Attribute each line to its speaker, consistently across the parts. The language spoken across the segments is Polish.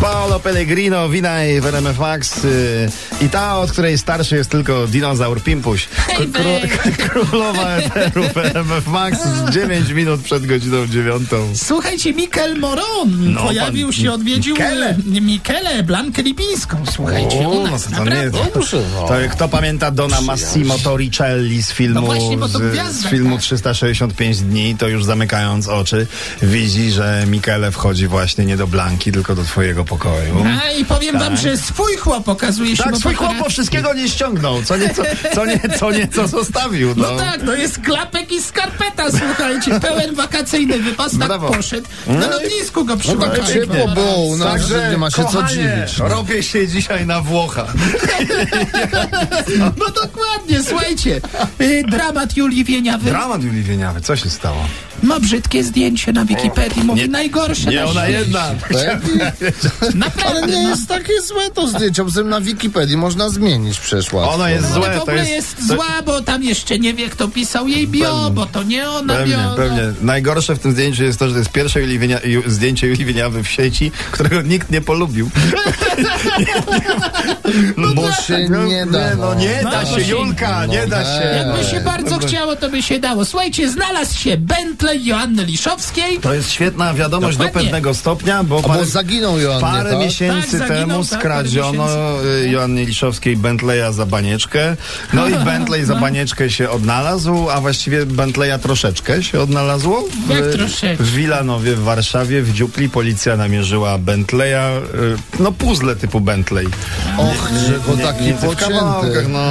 Speaker 1: Paolo Pellegrino, winaj w RMF Max y, i ta, od której starszy jest tylko dinozaur Pimpuś. K-
Speaker 2: Hej, babe.
Speaker 1: królowa eteru w RMF Max 9 minut przed godziną 9.
Speaker 2: Słuchajcie, Mikel Moron
Speaker 1: No,
Speaker 2: pojawił
Speaker 1: pan
Speaker 2: się, odwiedził
Speaker 1: Mikele. no
Speaker 2: e, Mikele, Blankę Lipińską, słuchajcie, u nas,
Speaker 1: to nie,
Speaker 2: naprawdę.
Speaker 1: to, to, kto pamięta Dona Massimo Torricelli z filmu,
Speaker 2: No właśnie, bo to
Speaker 1: z, z
Speaker 2: gwiazda,
Speaker 1: filmu
Speaker 2: tak.
Speaker 1: 365 dni, to już zamykając oczy, widzi, że Michele wchodzi właśnie nie do Blanki, tylko do twojego pokoju.
Speaker 2: A i powiem wam, że swój chłop okazuje się...
Speaker 1: Tak,
Speaker 2: bo
Speaker 1: swój
Speaker 2: akurat-
Speaker 1: chłop po wszystkiego nie ściągnął, co nieco, co nie, co nieco zostawił.
Speaker 2: No tak, no jest klapek i skarpeta, słuchajcie, pełen wakacyjny wypas, tak
Speaker 1: Brawo.
Speaker 2: poszedł. Na
Speaker 1: No i-
Speaker 2: lotnisku go
Speaker 1: No tak,
Speaker 2: przyłapali.
Speaker 1: ciepło
Speaker 2: No,
Speaker 3: było u nas.
Speaker 1: Także,
Speaker 3: nie ma się co
Speaker 1: kochanie,
Speaker 3: dziwić, no.
Speaker 1: robię się dzisiaj na Włocha.
Speaker 2: No dokładnie, słuchajcie, y, dramat Julii Wieniawy
Speaker 1: Dramat Julii Wieniawy, co się stało?
Speaker 2: ma brzydkie zdjęcie na Wikipedii, mówi
Speaker 1: Nie-
Speaker 2: najgorsze
Speaker 1: Nie
Speaker 2: na
Speaker 1: ona
Speaker 2: świecie.
Speaker 1: jedna.
Speaker 3: Ale
Speaker 2: Naprawdę,
Speaker 3: Tak? nie
Speaker 2: no.
Speaker 3: jest takie złe to zdjęcie, poza tym na Wikipedii można zmienić przecież łatwo.
Speaker 1: Ono jest
Speaker 2: Ona
Speaker 1: złe,
Speaker 2: w
Speaker 1: to
Speaker 2: ogóle
Speaker 1: jest...
Speaker 2: jest,
Speaker 1: to-
Speaker 2: zła, bo tam jeszcze nie wie, kto pisał jej bio, bo to nie ona
Speaker 1: Pewnie,
Speaker 2: bio. no.
Speaker 1: pewnie. Najgorsze w tym zdjęciu jest to, że to jest pierwsze Julii Wienia, ju, zdjęcie Julii Wieniawy w sieci, którego nikt nie polubił.
Speaker 3: Bo się nie da. No,
Speaker 1: no nie
Speaker 2: tak. No,
Speaker 1: da
Speaker 2: to
Speaker 1: się,
Speaker 2: się-
Speaker 1: Julka, nie da się.
Speaker 2: Jakby się bardzo chciało, to by się dało. Słuchajcie, znalazł się Bentley Joanny Liszowskiej.
Speaker 1: To jest świetna wiadomość do
Speaker 2: Dokładnie.
Speaker 1: pewnego stopnia, bo,
Speaker 3: A bo
Speaker 1: parę-
Speaker 3: zaginął Joannie,
Speaker 1: Parę
Speaker 3: tak?
Speaker 1: miesięcy
Speaker 2: Tak, zaginął,
Speaker 1: temu
Speaker 2: tak,
Speaker 1: skradziono
Speaker 2: parę
Speaker 1: y, Joannie Liszowskiej Bentleya za banieczkę. No i Bentley za banieczkę się odnalazł, a właściwie Bentleya troszeczkę się odnalazło. W,
Speaker 2: Jak troszeczkę?
Speaker 1: W Wilanowie, w Warszawie, w Dziupli policja namierzyła Bentleya, y, no puzzle typu Bentley.
Speaker 3: Och, że go taki
Speaker 1: w kawałkach,
Speaker 3: pocięty.
Speaker 1: no,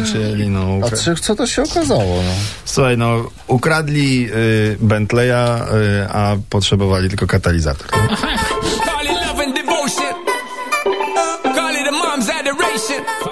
Speaker 1: pocięli, no.
Speaker 3: A
Speaker 1: ukra-
Speaker 3: czy, co to się okazało? No?
Speaker 1: Słuchaj, no, ukradli y, Bentleya, y, a potrzebowali tylko katalizator.
Speaker 4: Call it love and devotion. Call it a mom's adoration.